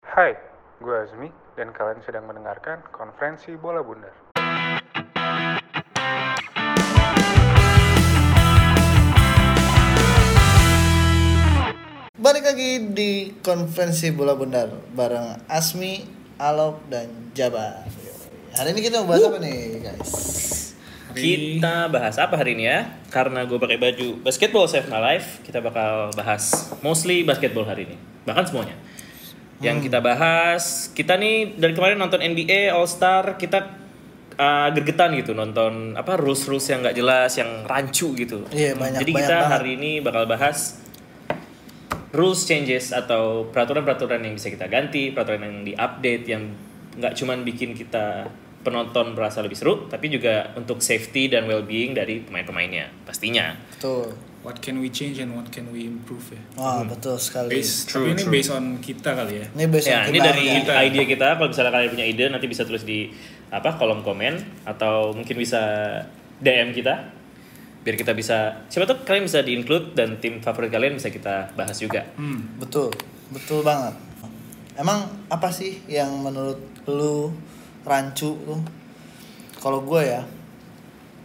Hai, gue Azmi dan kalian sedang mendengarkan konferensi bola bundar. Balik lagi di konferensi bola bundar bareng Asmi, Alok dan Jabar. Hari ini kita mau bahas apa nih, guys? Kita bahas apa hari ini ya? Karena gue pakai baju basketball save my life, kita bakal bahas mostly basketball hari ini, bahkan semuanya. Hmm. Yang kita bahas, kita nih dari kemarin nonton NBA All Star, kita uh, gergetan gitu nonton apa rules rules yang nggak jelas, yang rancu gitu. Iya, banyak- Jadi banyak kita banget. hari ini bakal bahas rules changes atau peraturan-peraturan yang bisa kita ganti, peraturan yang diupdate yang nggak cuman bikin kita penonton merasa lebih seru, tapi juga untuk safety dan well-being dari pemain-pemainnya pastinya. Betul. What can we change and what can we improve ya? Hmm. Wah, betul sekali. Based, True, tapi ini true. based on kita kali ya. Ini besok Ya, ini kita- dari ide kita. Kalau misalnya kalian punya ide, nanti bisa tulis di apa kolom komen atau mungkin bisa DM kita biar kita bisa siapa tuh kalian bisa di include dan tim favorit kalian bisa kita bahas juga. Hmm. Betul, betul banget. Emang apa sih yang menurut lu rancu tuh? Kalau gue ya,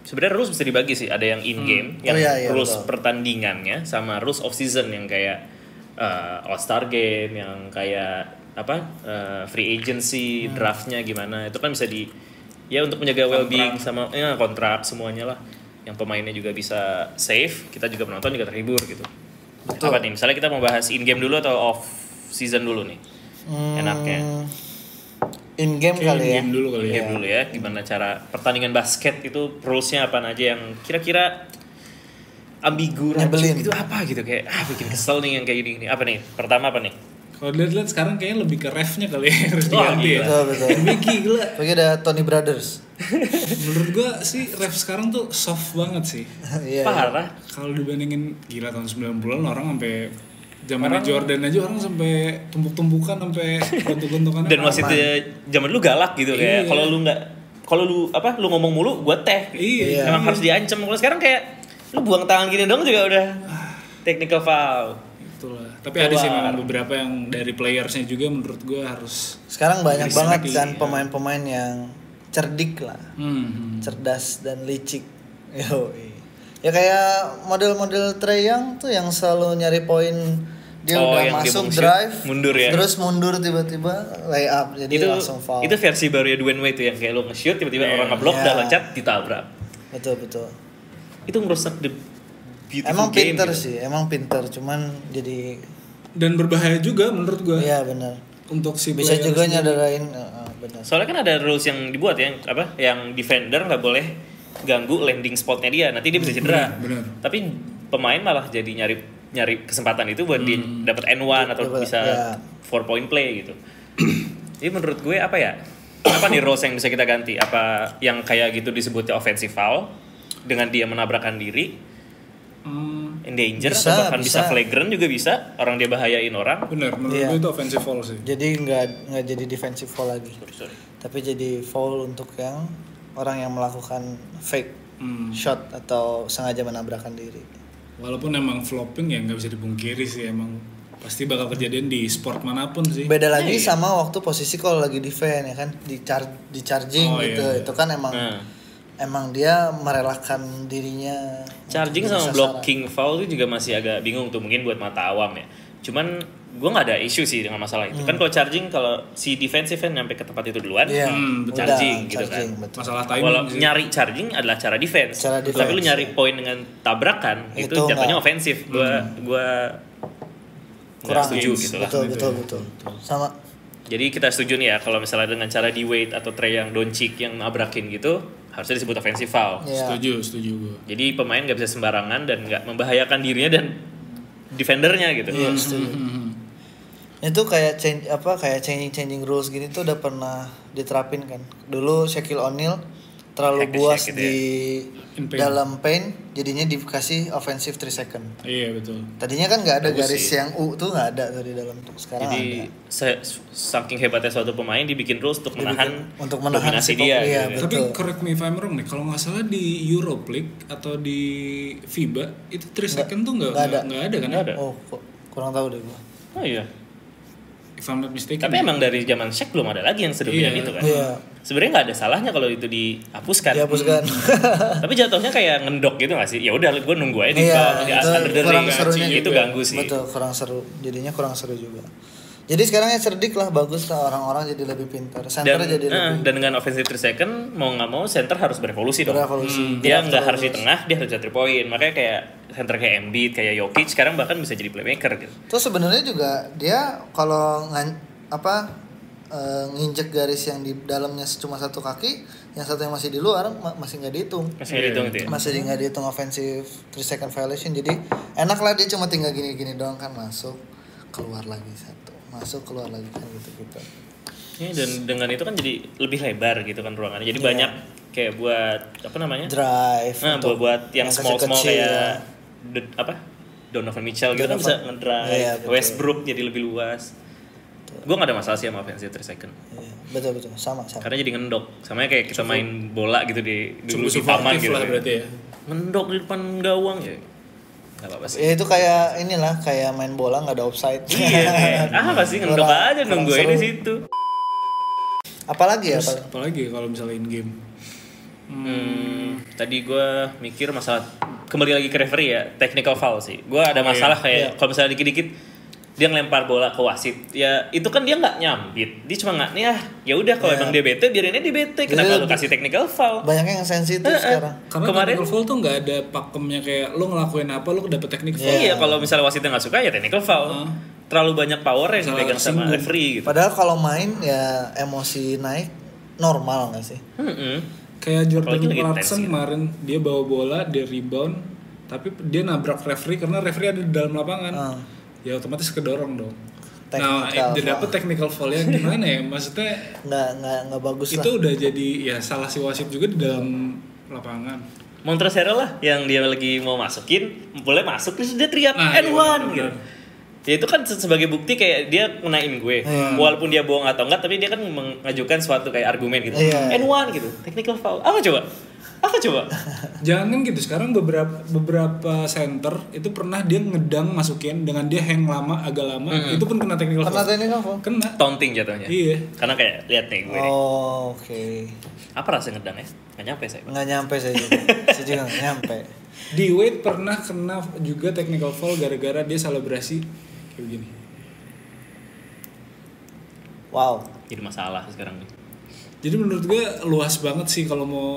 Sebenarnya rules bisa dibagi sih, ada yang in game, Oh, yang iya, iya, rules betul. pertandingannya sama rules of season yang kayak eh, all star game, yang kayak apa eh, free agency, Hmm. draftnya gimana. Itu kan bisa di ya untuk menjaga well being sama ya, kontrak semuanya lah. Yang pemainnya juga bisa safe, kita juga penonton juga terhibur gitu. Betul. Apa nih? Misalnya kita mau bahas in game dulu atau off season dulu nih. Hmm. Enaknya. in game Kayak kali ya. game dulu kali ya. Game dulu ya, gimana cara pertandingan basket itu rulesnya apa aja yang kira-kira ambigu rancu Nyebelin. gitu apa gitu kayak ah bikin kesel nih yang kayak gini gini apa nih pertama apa nih Kalau dilihat-lihat sekarang kayaknya lebih ke refnya kali ya harus Wah, diganti ya. Betul, betul. Ini gila. Bagi ada Tony Brothers. Menurut gua sih ref sekarang tuh soft banget sih. Iya. parah Kalau dibandingin gila tahun 90-an orang sampai zamannya Jordan aja orang sampai tumpuk-tumpukan sampai gontok-gontokan. dan wasitnya zaman lu galak gitu kayak Iya. kalau lu nggak kalau lu apa lu ngomong mulu gua teh Iya. emang harus diancam kalau sekarang kayak lu buang tangan gini dong juga udah technical foul Itulah. Tapi ada sih memang beberapa yang dari playersnya juga menurut gua harus Sekarang banyak Jadi banget semakin- kan iya. pemain-pemain yang cerdik lah, hmm. cerdas dan licik. Yoi. Ya kayak model-model Trey Young tuh yang selalu nyari poin dia Oh, udah yang dia masuk bung shoot, drive, mundur ya? terus mundur tiba-tiba lay up jadi itu langsung foul. itu versi baru ya Dwayne Wade tuh yang kayak lu nge-shoot tiba-tiba orang ngeblok Iya. dah loncat ditabrak Betul betul. itu merusak the beautiful Emang game pinter gitu. sih, emang pinter, cuman jadi dan berbahaya juga menurut gua ya benar. untuk si Bisa player juga nyadarain eh, eh, benar. soalnya kan ada rules yang dibuat ya apa yang defender nggak boleh ganggu landing spotnya dia nanti dia bisa cedera bener. tapi pemain malah jadi nyari nyari kesempatan itu buat dia dapat n 1 atau Dapat, bisa ya. four point play gitu jadi menurut gue apa ya apa nih rules yang bisa kita ganti apa yang kayak gitu disebutnya offensive foul dengan dia menabrakkan diri Hmm, endanger Bisa, atau bahkan bisa. bisa. flagrant juga bisa orang dia bahayain orang bener, menurut Iya. gue itu offensive foul sih. Jadi nggak nggak jadi defensive foul lagi. tapi jadi foul untuk yang orang yang melakukan fake Hmm. shot atau sengaja menabrakkan diri. Walaupun emang flopping ya nggak bisa dipungkiri sih emang pasti bakal kejadian di sport manapun sih. Beda Iya, lagi sama waktu posisi kalau lagi defend ya kan di char- di charging Oh, gitu. iya. Itu kan emang Nah. emang dia merelakan dirinya Charging untuk sama sasaran. blocking foul itu juga masih agak bingung tuh mungkin buat mata awam ya. Cuman gue nggak ada isu sih dengan masalah itu. Kan kalau charging kalau si defensive end nyampe ke tempat itu duluan, Hmm. Iya. Hmm, udah, charging gitu kan. charging, betul. Masalah timing Walau sih. nyari charging adalah cara defense. Cara Tapi lu defense, iya. nyari poin dengan tabrakan itu, Itu jatuhnya nggak. ofensif. Gua Hmm. gua nggak Kurang. setuju gitu lah. Betul, betul, betul, Sama Jadi kita setuju nih ya kalau misalnya dengan cara di wait atau Trey yang doncik yang nabrakin gitu harusnya disebut offensive foul. ya. Setuju, setuju gue. Jadi pemain nggak bisa sembarangan dan nggak membahayakan dirinya dan defendernya gitu. Iya. Itu kayak change apa kayak changing changing rules gini tuh udah pernah diterapin kan. Dulu Shaquille O'Neal terlalu Hack and buas shake gitu di In paint. dalam paint jadinya dikasih offensive 3 second. Iya betul. Tadinya kan nggak ada Bagus garis sih. yang U tuh nggak ada tuh di dalam tuh. Sekarang Jadi ada. se- saking hebatnya suatu pemain dibikin rules untuk menahan untuk menahan si dominasi dia. pem- iya, gitu. betul. Tapi correct me if I'm wrong nih, kalau nggak salah di Europe League atau di FIBA itu 3 second tuh nggak nggak ada. nggak ada kan? Nggak ada. Oh, ku- kurang tahu deh gua. Oh iya. if I'm not mistaken. Tapi emang dari zaman Sheikh belum ada lagi yang sedominan Iya. itu kan. Iya. Sebenarnya nggak ada salahnya kalau itu dihapuskan. Dihapuskan. Tapi jatuhnya kayak ngendok gitu nggak sih? Ya udah, gue nunggu aja di bawah, di Iya, atas itu berdering. kurang serunya Itu juga. ganggu kan, sih. Betul, kurang seru. Jadinya kurang seru juga. Jadi sekarang ya cerdik lah, bagus lah orang-orang jadi lebih pintar. Center Dan, jadi eh, lebih dan dengan offensive 3 second mau nggak mau center harus berevolusi dong. Hmm. berevolusi. Dia nggak harus di tengah, dia harus jadi poin. Makanya kayak center kayak Embiid, kayak Jokic sekarang bahkan bisa jadi playmaker gitu. Terus sebenarnya juga dia kalau ngan, apa eh, nginjek garis yang di dalamnya cuma satu kaki, yang satu yang masih di luar ma- masih nggak dihitung. Masih dihitung gitu ya. Masih di- nggak dihitung offensive 3 second violation. Jadi enak lah dia cuma tinggal gini-gini doang kan masuk keluar lagi satu masuk keluar lagi kan gitu gitu. Iya, dan dengan itu kan jadi lebih lebar gitu kan ruangannya. Iya. Jadi banyak kayak buat apa namanya? Drive. Nah, buat, untuk buat yang small small kecil-kecil, kayak the- apa? Donovan Mitchell gitu kan bisa Donovan. ngedrive. Iya, betul. Westbrook jadi lebih luas. Gue gak ada masalah sih sama offensive 3 second. Iya, betul betul sama sama. Karena jadi ngendok. Sama kayak kita main bola gitu di dulu di taman gitu. Aktif lah berarti ya. Ngendok di depan gawang ya. Gak apa-apa sih. Ya itu kayak inilah kayak main bola nggak ada offside. Iya, kayak, ah pasti ngendok Kurang- aja nunggu kurang aja di seru. situ. Apalagi ya? Terus Pak? apalagi ya kalau misalnya in game. Hmm, tadi gue mikir masalah kembali lagi ke referee ya technical foul sih. Gue ada masalah kayak kalau misalnya dikit-dikit dia ngelempar bola ke wasit, ya itu kan dia nggak nyambit, dia cuma nggak nih ah ya udah kalau emang dia bete biarin aja dia bete, kenapa lu lebih- kasih technical foul? Banyaknya yang sensitif Eh, sekarang. Karena Kemarin- technical foul tuh nggak ada pakemnya kayak lo ngelakuin apa lo dapet technical foul. Iya kalau misalnya wasitnya nggak suka ya technical foul, terlalu banyak power yang Salah dipegang sama singgung. referee gitu. Padahal kalau main ya emosi naik normal nggak sih? Mm-mm. Kayak Jordan Apalagi lagi Clarkson tense gitu. kemarin dia bawa bola, dia rebound, tapi dia nabrak referee karena referee ada di dalam lapangan. Ah. Ya otomatis kedorong dong. nah, Technical dia dapet technical foul ya gimana ya? Maksudnya Nggak nggak nggak bagus itu lah. udah jadi ya salah si wasit juga di dalam lapangan. Montrezl lah yang dia lagi mau masukin, boleh masuk terus dia teriak Nah, and iya, one benar, gitu. Ya itu kan se- sebagai bukti kayak dia ngenain gue. Walaupun dia bohong atau enggak tapi dia kan mengajukan suatu kayak argumen gitu. Iya. And one gitu. Technical foul. Apa coba? Apa coba? Jangan kan gitu sekarang beberapa beberapa center itu pernah dia ngedang masukin dengan dia hang lama agak lama Hmm. itu pun kena technical Pernah foul. tanya kamu? Kena. Taunting jatuhnya. Iya. Karena kayak lihat nih gue nih. Oh, oke. Apa rasa ngedang ya? Gak nyampe saya. Nggak nyampe saya juga. saya juga nggak nyampe. Di Wade pernah kena juga technical foul gara-gara dia selebrasi kayak begini. Wow. Jadi masalah sekarang nih. Jadi menurut gue luas banget sih kalau mau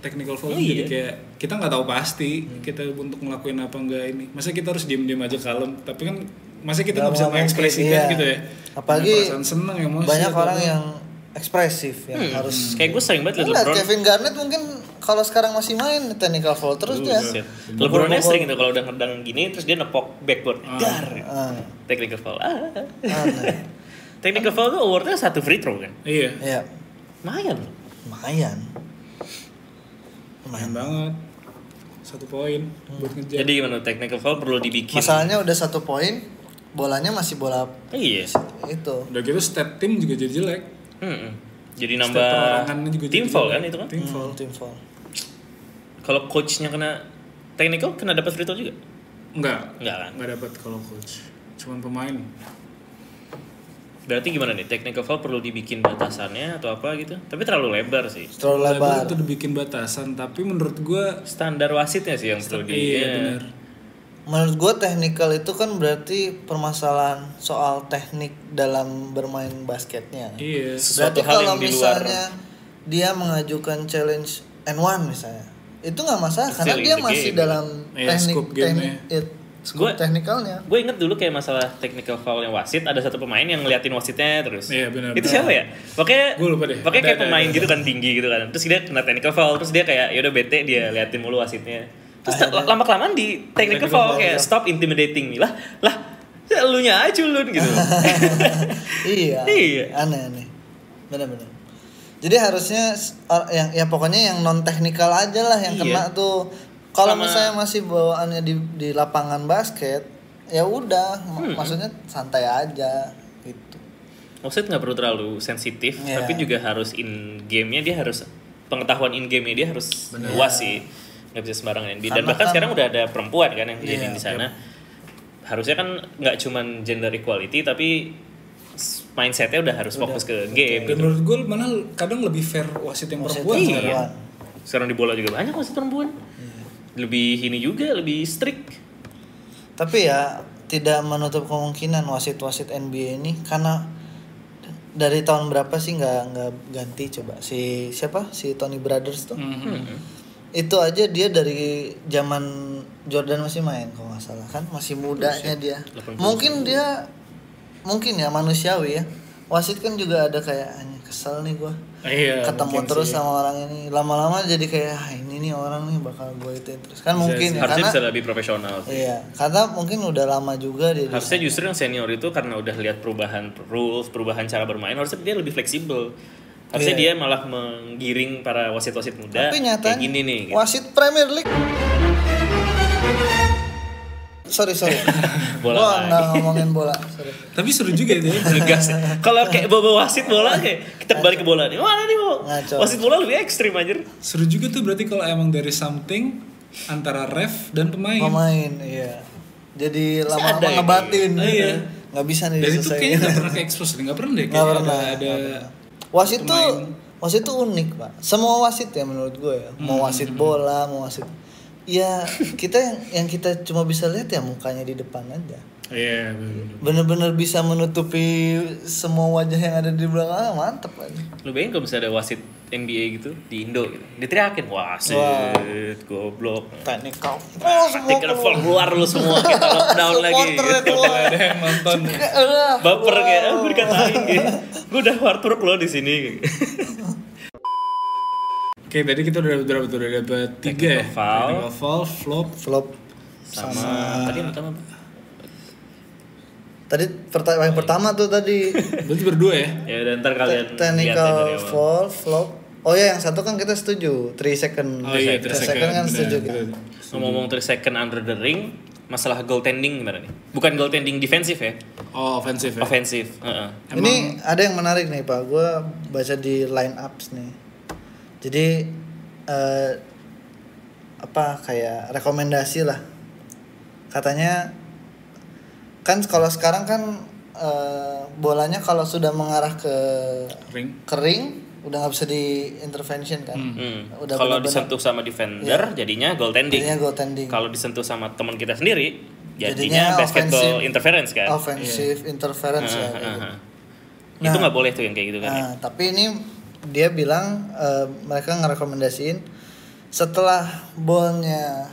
technical foul Oh jadi iya. kayak kita nggak tahu pasti kita untuk ngelakuin apa enggak ini. Masa kita harus diem-diem aja kalem, tapi kan masa kita nggak bisa Nggak mungkin, mengekspresikan iya. gitu ya. Apalagi Punya perasaan seneng emosi. Banyak atau orang apa. yang ekspresif yang Hmm. harus ya. Kayak gue sering banget liat Lihat LeBron. Kevin Garnett mungkin kalau sekarang masih main technical foul terus dia. Buset. LeBronnya sering itu kalau udah ngedang gini terus dia nepok backboard. Dar. Ah, Technical foul. Ah. aneh. Technical foul tuh awardnya satu free throw kan? Iya, Iya, Lumayan loh. lumayan. main banget. Satu poin buat Hmm. ngejar. Jadi gimana technical foul perlu dibikin? Masalahnya udah satu poin, bolanya masih bola Iya. itu. Udah gitu step tim juga jadi jelek. Mm-mm. Hmm. Jadi Step nambah perorangannya juga tim jadi foul jelek. kan itu kan? Tim foul. Hmm, Tim foul. Kalau coachnya kena technical kena dapat free throw juga? Enggak, Enggak kan? nggak dapat kalau coach. Cuman pemain. Berarti gimana nih? Technical foul perlu dibikin batasannya atau apa gitu? Tapi terlalu lebar sih. Terlalu lebar. Itu udah bikin batasan, tapi menurut gue Standar wasitnya sih yang perlu di. iya ya. benar. Menurut gua technical itu kan berarti permasalahan soal teknik dalam bermain basketnya. Iya. Berarti Sesuatu hal kalau yang di luar. misalnya dia mengajukan challenge and one misalnya, itu nggak masalah Still karena in dia the masih gitu, game. dalam Iya, teknik scope teknik game-nya. ya, scope Gua- teknikalnya. Gue inget dulu kayak masalah technical foul yang wasit, ada satu pemain yang ngeliatin wasitnya terus. Iya, benar, Itu benar. siapa ya? Pakai Gua lupa deh. Pakai Ada, kayak ada, pemain ada, gitu kan tinggi gitu kan. Terus dia kena technical foul, terus dia kayak ya udah bete dia liatin mulu wasitnya. Terus lama kelamaan di technical, foul kayak iya. stop intimidating me lah. Lah, elunya aja culun gitu. iya. Iya. Aneh aneh. Benar-benar. Jadi harusnya s- or- yang ya pokoknya yang non teknikal aja lah yang Iya. kena tuh. Kalau Sama- misalnya masih bawaannya di di lapangan basket, ya udah, M- Hmm. maksudnya santai aja gitu. Wasit nggak perlu terlalu sensitif, Iya. tapi juga harus in game-nya dia harus pengetahuan in game-nya dia harus luas sih. Nggak bisa sembarangan NBA. Dan Karena bahkan kan- Iya, sekarang udah ada perempuan kan yang jadi di sana. Harusnya kan nggak cuman gender equality tapi s- mindsetnya udah harus fokus ke game. gitu. Dan menurut gue malah kadang lebih fair wasit yang perempuan gitu. Wasit kan? sekarang. perempuan. Iya. Sekarang di bola juga banyak wasit perempuan. Iya. Lebih ini juga lebih strict. Tapi ya tidak menutup kemungkinan wasit-wasit NBA ini karena dari tahun berapa sih nggak nggak ganti coba si siapa si Tony Brothers tuh Hmm. itu aja dia dari zaman Jordan masih main kalau nggak salah kan masih mudanya dia 80. mungkin dia mungkin ya manusiawi ya wasit kan juga ada kayak "Anjing, kesel nih gua Ya, Iya. ketemu mungkin terus sih. sama orang ini lama-lama jadi kayak "Ah, ini nih orang nih bakal gue itu terus kan mungkin ya, Harusnya karena bisa lebih profesional. sih. iya karena mungkin udah lama juga dia di- Harusnya justru yang senior itu karena udah lihat perubahan rules, perubahan cara bermain, harusnya dia lebih fleksibel. Harusnya dia malah menggiring para wasit-wasit muda Iya. tapi nyatanya kayak gini nih. gitu. wasit Premier League sorry sorry Bola Gua lagi. nggak ngomongin bola sorry Tapi seru juga itu ya. Ngegas. Kalau kayak bawa wasit bola kayak kita balik ke bola nih. Mana nih Bo? Ngaco. Wasit bola lebih ekstrim anjir. Seru juga tuh berarti kalau emang dari something antara ref dan pemain. pemain iya jadi lama-lama ada ya ngebatin kayak gitu. iya. Iya. nggak bisa nih Dan itu kayaknya diselesaikan nggak pernah ke expose, nggak pernah deh. nggak Kayak pernah Ada, ada nggak pernah. wasit tuh wasit tuh unik pak semua wasit ya menurut gue ya mau wasit bola mau wasit ya kita yang yang kita cuma bisa lihat ya mukanya di depan aja Iya. bener-bener. bener-bener bisa menutupi semua wajah yang ada di belakang ah, mantep aja Lu bayangin kalau misalnya ada wasit NBA gitu di Indo gitu. Diteriakin wasit goblok. technical oh semua Artikel full keluar lu semua kita lockdown lagi. supporternya gitu. keluar Ada yang nonton. Kayak, "Alah, Baper wow." kayak ah, gue dikatain gitu. Gue udah wartruk lo di sini. Oke, tadi kita udah dapat berapa tuh? Udah dapat tiga ya? Technical foul. Technical foul, flop, flop Sama, tadi yang pertama apa? tadi perta- yang pertama tuh tadi Berarti berdua ya? Ya udah ntar kalian lihat ya dari technical awal. fall flop oh ya yang satu kan kita setuju 3 second Oh iya, Three terus kan setuju kita. Ngomong-ngomong 3 second under the ring, masalah goaltending gimana nih? Bukan goaltending defensif ya, Oh, offensive ya? ofensif. Heeh. ini ada yang menarik nih pak gue baca di line ups nih jadi eh, apa kayak rekomendasi lah katanya kan kalau sekarang kan eh, bolanya kalau sudah mengarah ke Ring. kering udah nggak bisa di intervention kan Hmm. udah Iya. Kalau benar-benar disentuh sama defender jadinya goaltending. jadinya goaltending Kalau disentuh sama teman kita sendiri Jadinya jadinya, basketball offensive. interference kan. offensive interference ya kayak gitu. Heeh. Itu nggak boleh tuh yang kayak gitu kan. ya? Nah, tapi ini dia bilang eh, mereka ngerekomendasiin setelah bolnya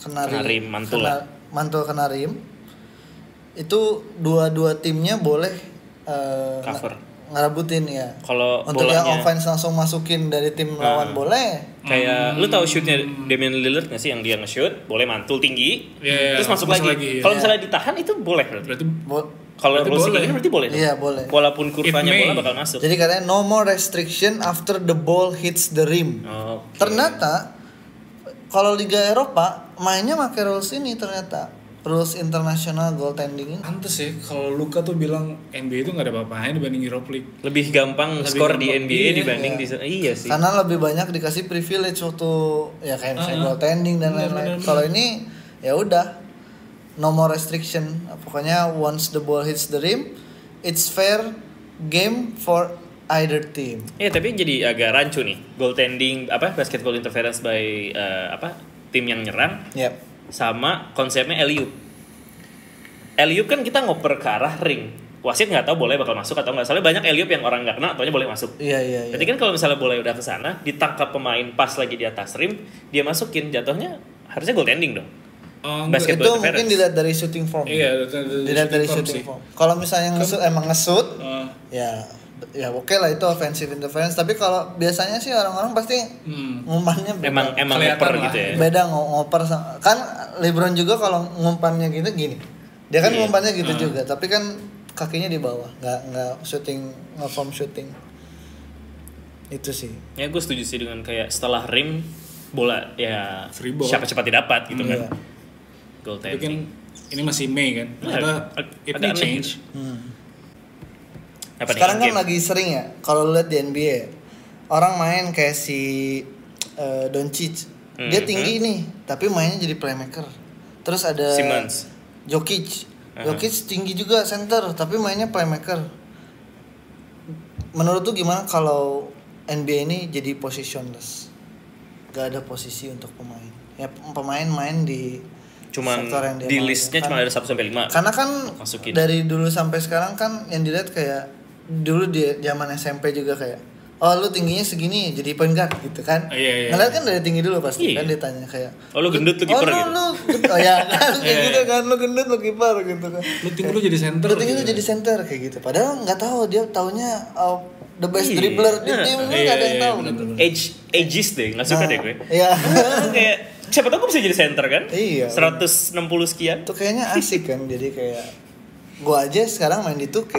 kena Kena rim, mantul kena- mantul kena rim itu dua-dua timnya boleh eh, nge- Cover. ngerabutin ya. Kalau Untuk yang bolanya Nah. offense langsung masukin dari tim lawan boleh. Hmm. kayak lu tahu shootnya Damian Lillard nggak sih yang dia nge-shoot boleh mantul tinggi Iya, iya, terus masuk lagi. lagi, iya. Kalau misalnya ditahan itu boleh berarti. Berarti Bo- Kalau Berarti rules boleh. ini berarti boleh. dong? Iya, boleh. Walaupun kurvanya It may. bola bakal masuk. Jadi katanya no more restriction after the ball hits the rim. Oh, Ternyata kalau Liga Eropa mainnya pakai rules ini ternyata rules internasional goaltending ini. pantes ya kalau Luka tuh bilang NBA itu nggak ada apa-apanya dibanding Europe League. lebih gampang skor di gampang. NBA Iya, dibanding di sana. Iya sih. Karena lebih banyak dikasih privilege waktu ya kayak misalnya goaltending dan lain-lain. Kalau ini ya udah no more restriction. Pokoknya once the ball hits the rim, it's fair game for either team. Iya, tapi jadi agak rancu nih. Goaltending apa basketball interference by eh, apa tim yang nyerang Yep. sama konsepnya LU. LU kan kita ngoper ke arah ring. Wasit nggak tahu boleh bakal masuk atau nggak. Soalnya banyak LU yang orang nggak kena, taunya boleh masuk. Iya iya iya. Berarti kan kalau misalnya bola udah ke sana, ditangkap pemain pas lagi di atas rim, dia masukin jatuhnya harusnya goaltending dong. Oh, enggak. Basketball Itu mungkin interference. dilihat dari shooting form. Iya, dari- Dilihat dari shooting sih. form. Kalau misalnya ngesut emang ngesut, Eh, ya ya oke lah itu offensive interference tapi kalau biasanya sih orang-orang pasti hmm. ngumpannya beda Emang emang Kelihatan ngoper lah. gitu ya. beda ngo- ngoper sama- kan LeBron juga kalau ngumpannya gitu gini dia kan ngumpannya gitu juga tapi kan kakinya di bawah nggak nggak shooting nggak form shooting itu sih Ya gue setuju sih dengan kayak setelah rim bola ya Free ball. siapa cepat didapat gitu kan. Iya. Itu Goaltending. kan ini masih Mei kan. Nah, Ada ag- it agak aneh may change. Hmm. Apa nih, sekarang kan game? lagi sering ya kalau lu lihat di NBA orang main kayak si eh, Doncic dia Mhm. tinggi nih tapi mainnya jadi playmaker terus ada Simmons. Jokic Jokic tinggi juga center tapi mainnya playmaker menurut tuh gimana kalau NBA ini jadi positionless? Gak ada posisi untuk pemain. Ya pem- pemain main di Cuman sektor yang dia di mau. listnya Kan- cuma ada 1 sampai 5. Karena kan Masukin. dari dulu sampai sekarang kan yang dilihat kayak dulu di zaman SMP juga kayak oh lu tingginya segini jadi point guard gitu kan. Oh, iya, iya. Ngeliat kan dari tinggi dulu pasti Iya. kan ditanya kayak Oh, lu gendut, lu oh, kiper gitu." Iya, Lu, oh ya kan kayak gitu kan lu gendut lu kiper gitu kan. Lu tinggi lu jadi center. Lu tinggi tuh jadi center kayak gitu. Padahal nggak tahu dia taunya oh, the best Iya. dribbler di tim Iya, lu nggak ada iya, yang iya, tahu. bener, gitu. bener. Age ages deh, nggak suka Nah, deh gue. Iya. kayak siapa tahu gue bisa jadi center kan? Iya. 160 sekian. Itu kayaknya asik kan jadi kayak gua aja sekarang main di 2K.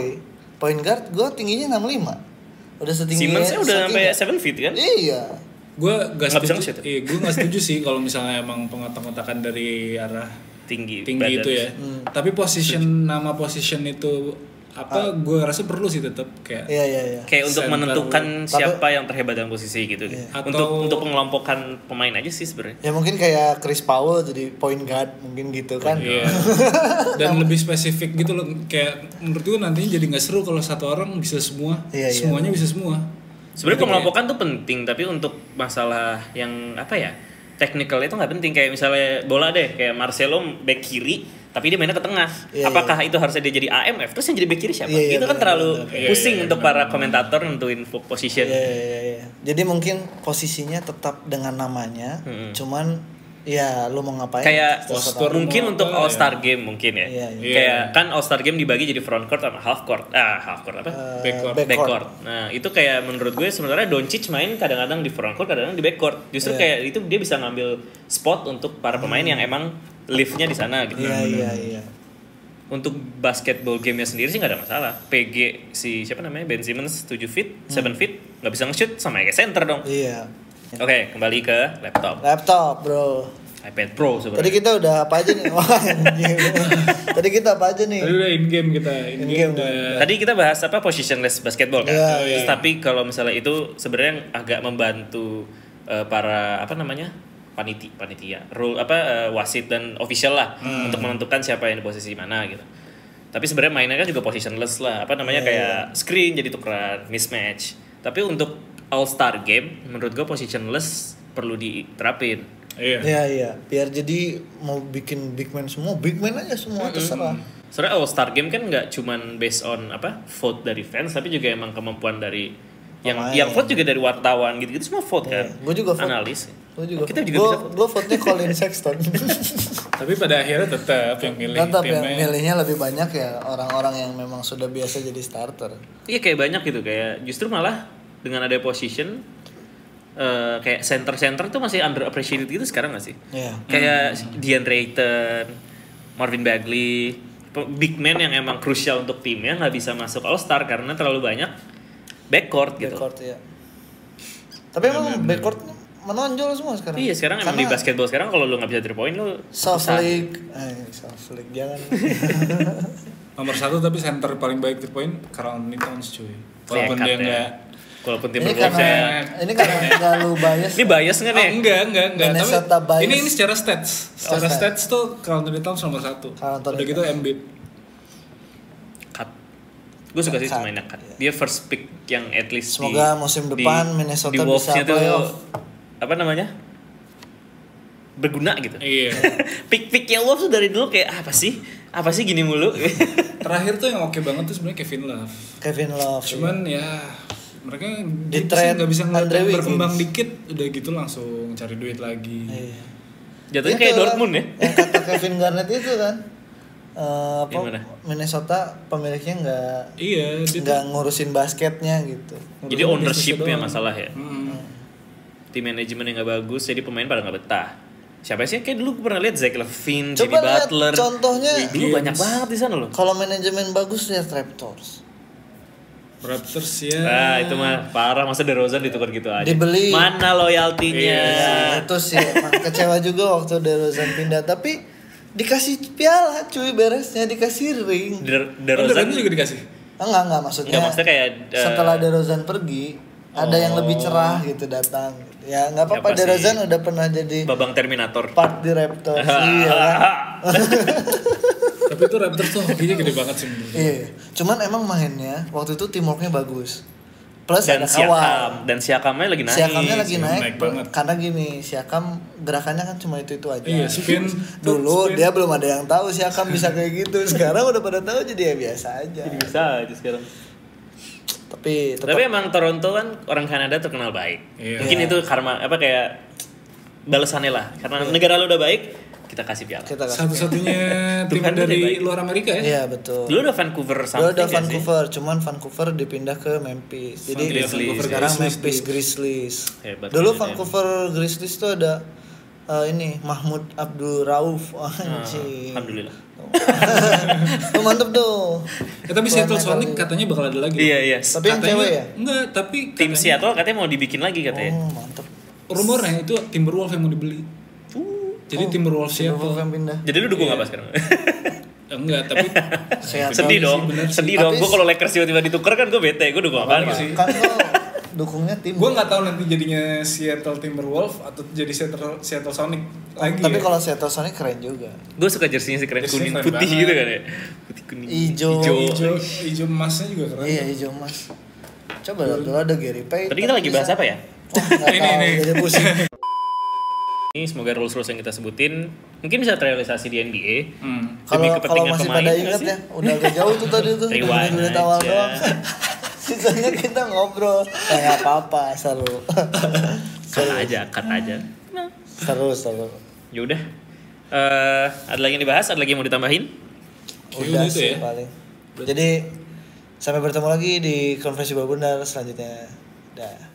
Point guard gua tingginya 65. Udah setinggi Simmonsnya kan udah sampai setinggi- 7 feet kan? Iya. Gue gak Nggak bisa setuju. nge-shoot ya? Iya, gue gak setuju sih kalau misalnya emang pengotak-ngotakan dari arah Tinggi. badan. tinggi itu ya. Hmm. Tapi position nama position itu Ah. apa? Gue rasa perlu sih tetap kayak Iya iya iya. Kayak untuk Center. menentukan siapa yang terhebat dalam posisi gitu deh. Iya. Atau- Untuk untuk pengelompokan pemain aja sih sebenarnya. Ya mungkin kayak Chris Paul jadi point guard mungkin gitu kan. Iya. Dan lebih spesifik gitu loh. Kayak menurut gue nantinya jadi nggak seru kalau satu orang bisa semua. Iya, iya. Semuanya bisa semua. Gitu, Sebenarnya ya. pengelompokan tuh penting, tapi untuk masalah yang apa ya? Technical itu nggak penting kayak misalnya bola deh, kayak Marcelo back kiri, tapi dia mainnya ke tengah. Iya, Apakah itu harusnya dia jadi AMF? Terus yang jadi back kiri siapa? Iya, iya, itu kan benar, terlalu benar. pusing Iya, iya, untuk para komentator nentuin fo- position. Iya, iya, iya. Jadi mungkin posisinya tetap dengan namanya, cuman ya lu mau ngapain? Hmm. kayak Postur mungkin mau untuk apa All Star Game mungkin ya. Iya, iya. Kayak kan All Star Game dibagi jadi front court sama half court. Ah, half court Eh, apa? Backcourt. backcourt. Nah, itu kayak menurut gue sebenarnya Doncic main kadang-kadang di front court, kadang-kadang di backcourt. Iya. Justru kayak itu dia bisa ngambil spot untuk para pemain yang emang liftnya di sana Hmm. gitu. Iya, iya, iya. Untuk basketball gamenya sendiri sih nggak ada masalah. PG si siapa namanya Ben Simmons 7 feet, 7 feet nggak bisa nge-shoot sama kayak center dong. Hmm. Iya. Oke, kembali ke laptop. Laptop, Bro. iPad Pro Tadi sebenarnya. kita udah apa aja nih? Wah, anjing. Tadi kita apa aja Tadi nih? udah in game kita, in game In-game. udah Tadi kita bahas apa positionless basketball kan. Iya, Terus tapi kalau misalnya itu sebenarnya yang agak membantu eh, para apa namanya? paniti panitia, rule apa eh, wasit dan official lah untuk menentukan siapa yang di posisi mana gitu. Tapi sebenarnya mainnya kan juga positionless lah, apa namanya kayak screen jadi tukeran, mismatch. Tapi untuk all star game menurut gue positionless perlu diterapin. Iya. Iya, iya. Biar jadi mau bikin big man semua, big man aja semua terserah. Soalnya All Star Game kan nggak cuman based on apa vote dari fans, tapi juga emang kemampuan dari yang Pemain. Iya, yang vote juga dari wartawan gitu-gitu semua vote kan. Gua juga vote. Analis. Lu juga. Kita juga gua, bisa vote. gua vote-nya Colin Sexton. Tapi pada akhirnya tetap yang milih Tetap timnya. ya, milihnya lebih banyak ya orang-orang yang memang sudah biasa jadi starter. Iya kayak banyak gitu kayak justru malah dengan ada position eh, kayak center-center tuh masih underappreciated gitu sekarang nggak sih? Iya. Kayak DeAndre Ayton, Marvin Bagley, pe- big man yang emang krusial untuk timnya nggak bisa masuk All Star karena terlalu banyak backcourt gitu. Backcourt ya. Tapi emang backcourt menonjol semua sekarang. Iya sekarang emang di Karena basketball sekarang kalau lu nggak bisa three point lu Soft susah. league, eh, soft league jangan. Nomor satu tapi center paling baik three point Karl Anthony Towns cuy. Walaupun Nekat dia ya. nggak Walaupun tim ini berbola. karena ini karena nggak lu bias. Ini bias nggak nih? Oh, enggak, enggak, enggak. Minnesota Tapi bias. ini ini secara stats. Oh, Secara stats tuh Karl Anthony Towns nomor satu. Karl Anthony Udah gitu Embiid. Cut. Gue suka sih Cut. cuma cut. Dia first pick yang at least Semoga musim depan Minnesota bisa Wolves-nya playoff. apa namanya? Berguna gitu. Iya. Pick-picknya Wolves tuh dari dulu kayak "Ah, apa sih? Apa sih gini mulu? Terakhir tuh yang oke banget tuh sebenarnya Kevin Love. Kevin Love. Cuman ya mereka Di gitu trade sih nggak bisa ngeliat Andre yang Wiggins. berkembang dikit udah gitu langsung cari duit lagi. Iya. Jatuhnya Itu kayak kan, Dortmund ya. Yang kata Kevin Garnett itu kan. eh, apa, Gimana? Minnesota pemiliknya nggak Iya, dia tuh nggak ngurusin basketnya gitu. Jadi Urusan ownership-nya bisnisnya doang. masalah ya. Tim manajemen yang nggak bagus, jadi pemain pada nggak betah. Siapa sih? Kayak dulu gue pernah lihat Zach Levine, Coba Jimmy lihat Butler. contohnya. Dulu banyak banget di sana loh. Kalau manajemen bagus lihat Raptors. Raptors ya. Ah, itu mah parah masa DeRozan ditukar gitu aja. Dibeli. Ya, Mana loyaltinya? Iya. Itu sih emang kecewa juga waktu DeRozan pindah tapi dikasih piala cuy beresnya dikasih ring. De- Oh, DeRozan Durant juga dikasih. Enggak enggak maksudnya. Enggak, maksudnya kayak, eh, Oh. setelah DeRozan pergi ada yang lebih cerah gitu datang. Ya nggak apa-apa Apa sih? DeRozan udah pernah jadi babang Terminator. part di Raptors. iya kan? Tapi Tapi itu Raptors tuh hokinya gede banget sih menurut gue. Iya, cuman emang mainnya waktu itu teamworknya bagus. Plus ada kawan. dan siakam dan siakamnya lagi naik Siakamnya lagi Siakam naik, naik banget. karena gini, Siakam gerakannya kan cuma itu-itu aja. Iya, spin. Dulu spin. dia belum ada yang tahu Siakam bisa kayak gitu. Sekarang udah pada tahu jadi ya biasa aja. Jadi bisa aja sekarang Tapi tetap tapi emang Toronto kan orang Kanada terkenal baik Iya. mungkin itu karma apa kayak balasannya lah karena Iya. negara lu udah baik kita kasih piala kita kasih. Satu-satunya tim Tuhan dari baik. luar Amerika ya. Iya, betul. dulu udah Vancouver Dulu something ada ya sih Vancouver, cuman Vancouver dipindah ke Memphis. Jadi Grizzlies, Vancouver sekarang Memphis Grizzlies. Hebat Dulu banget ya. Vancouver Grizzlies tuh ada eh, ini Mahmud Abdul Rauf Ah, anjing. alhamdulillah Tuh, mantep tuh. Eh, tapi Seattle Sonic katanya bakal ada lagi. iya iya Tapi yang Katanya- cewek ya? Enggak, tapi tim Seattle katanya mau dibikin lagi katanya Oh, mantep. rumornya itu Timberwolves yang mau dibeli. Uh. Jadi Oh. Timberwolves Dulu Seattle. yang pindah. jadi lu dukung apa sekarang Enggak, tapi Seattle. sedih dong sedih dong Tapi- gue kalau Lakers tiba-tiba ditukar kan gue bete gue dukung apaan gitu Kan lo dukungnya tim. gue nggak tahu nanti jadinya Seattle Timberwolves atau jadi Seattle Seattle Sonic lagi. Tapi ya. kalau Seattle Sonic keren juga. gue suka jersinya sih keren kuning Jersinya keren putih banget. gitu kan ya putih kuning Ijo. hijau hijau emasnya juga keren. Iya, hijau mas. Coba dulu ada Gary Payton. tadi kita lagi bahas apa ya Wah, nggak Ini, tahu, ini. jadi pusing. ini semoga rules rules yang kita sebutin mungkin bisa terrealisasi di NBA Hmm. Kalau kepentingan kalau masih pemain pada nggak ingat sih? ya, udah agak jauh tuh tadi tuh. Rewind Udah awal aja. doang. Sisanya kita ngobrol. Kayak apa-apa, seru. kan aja kan aja seru, seru. yaudah Eh, ada lagi yang dibahas ada lagi yang mau ditambahin Udah Udah itu sih ya. paling. Jadi sampai bertemu lagi di konferensi Babundar selanjutnya. Dah.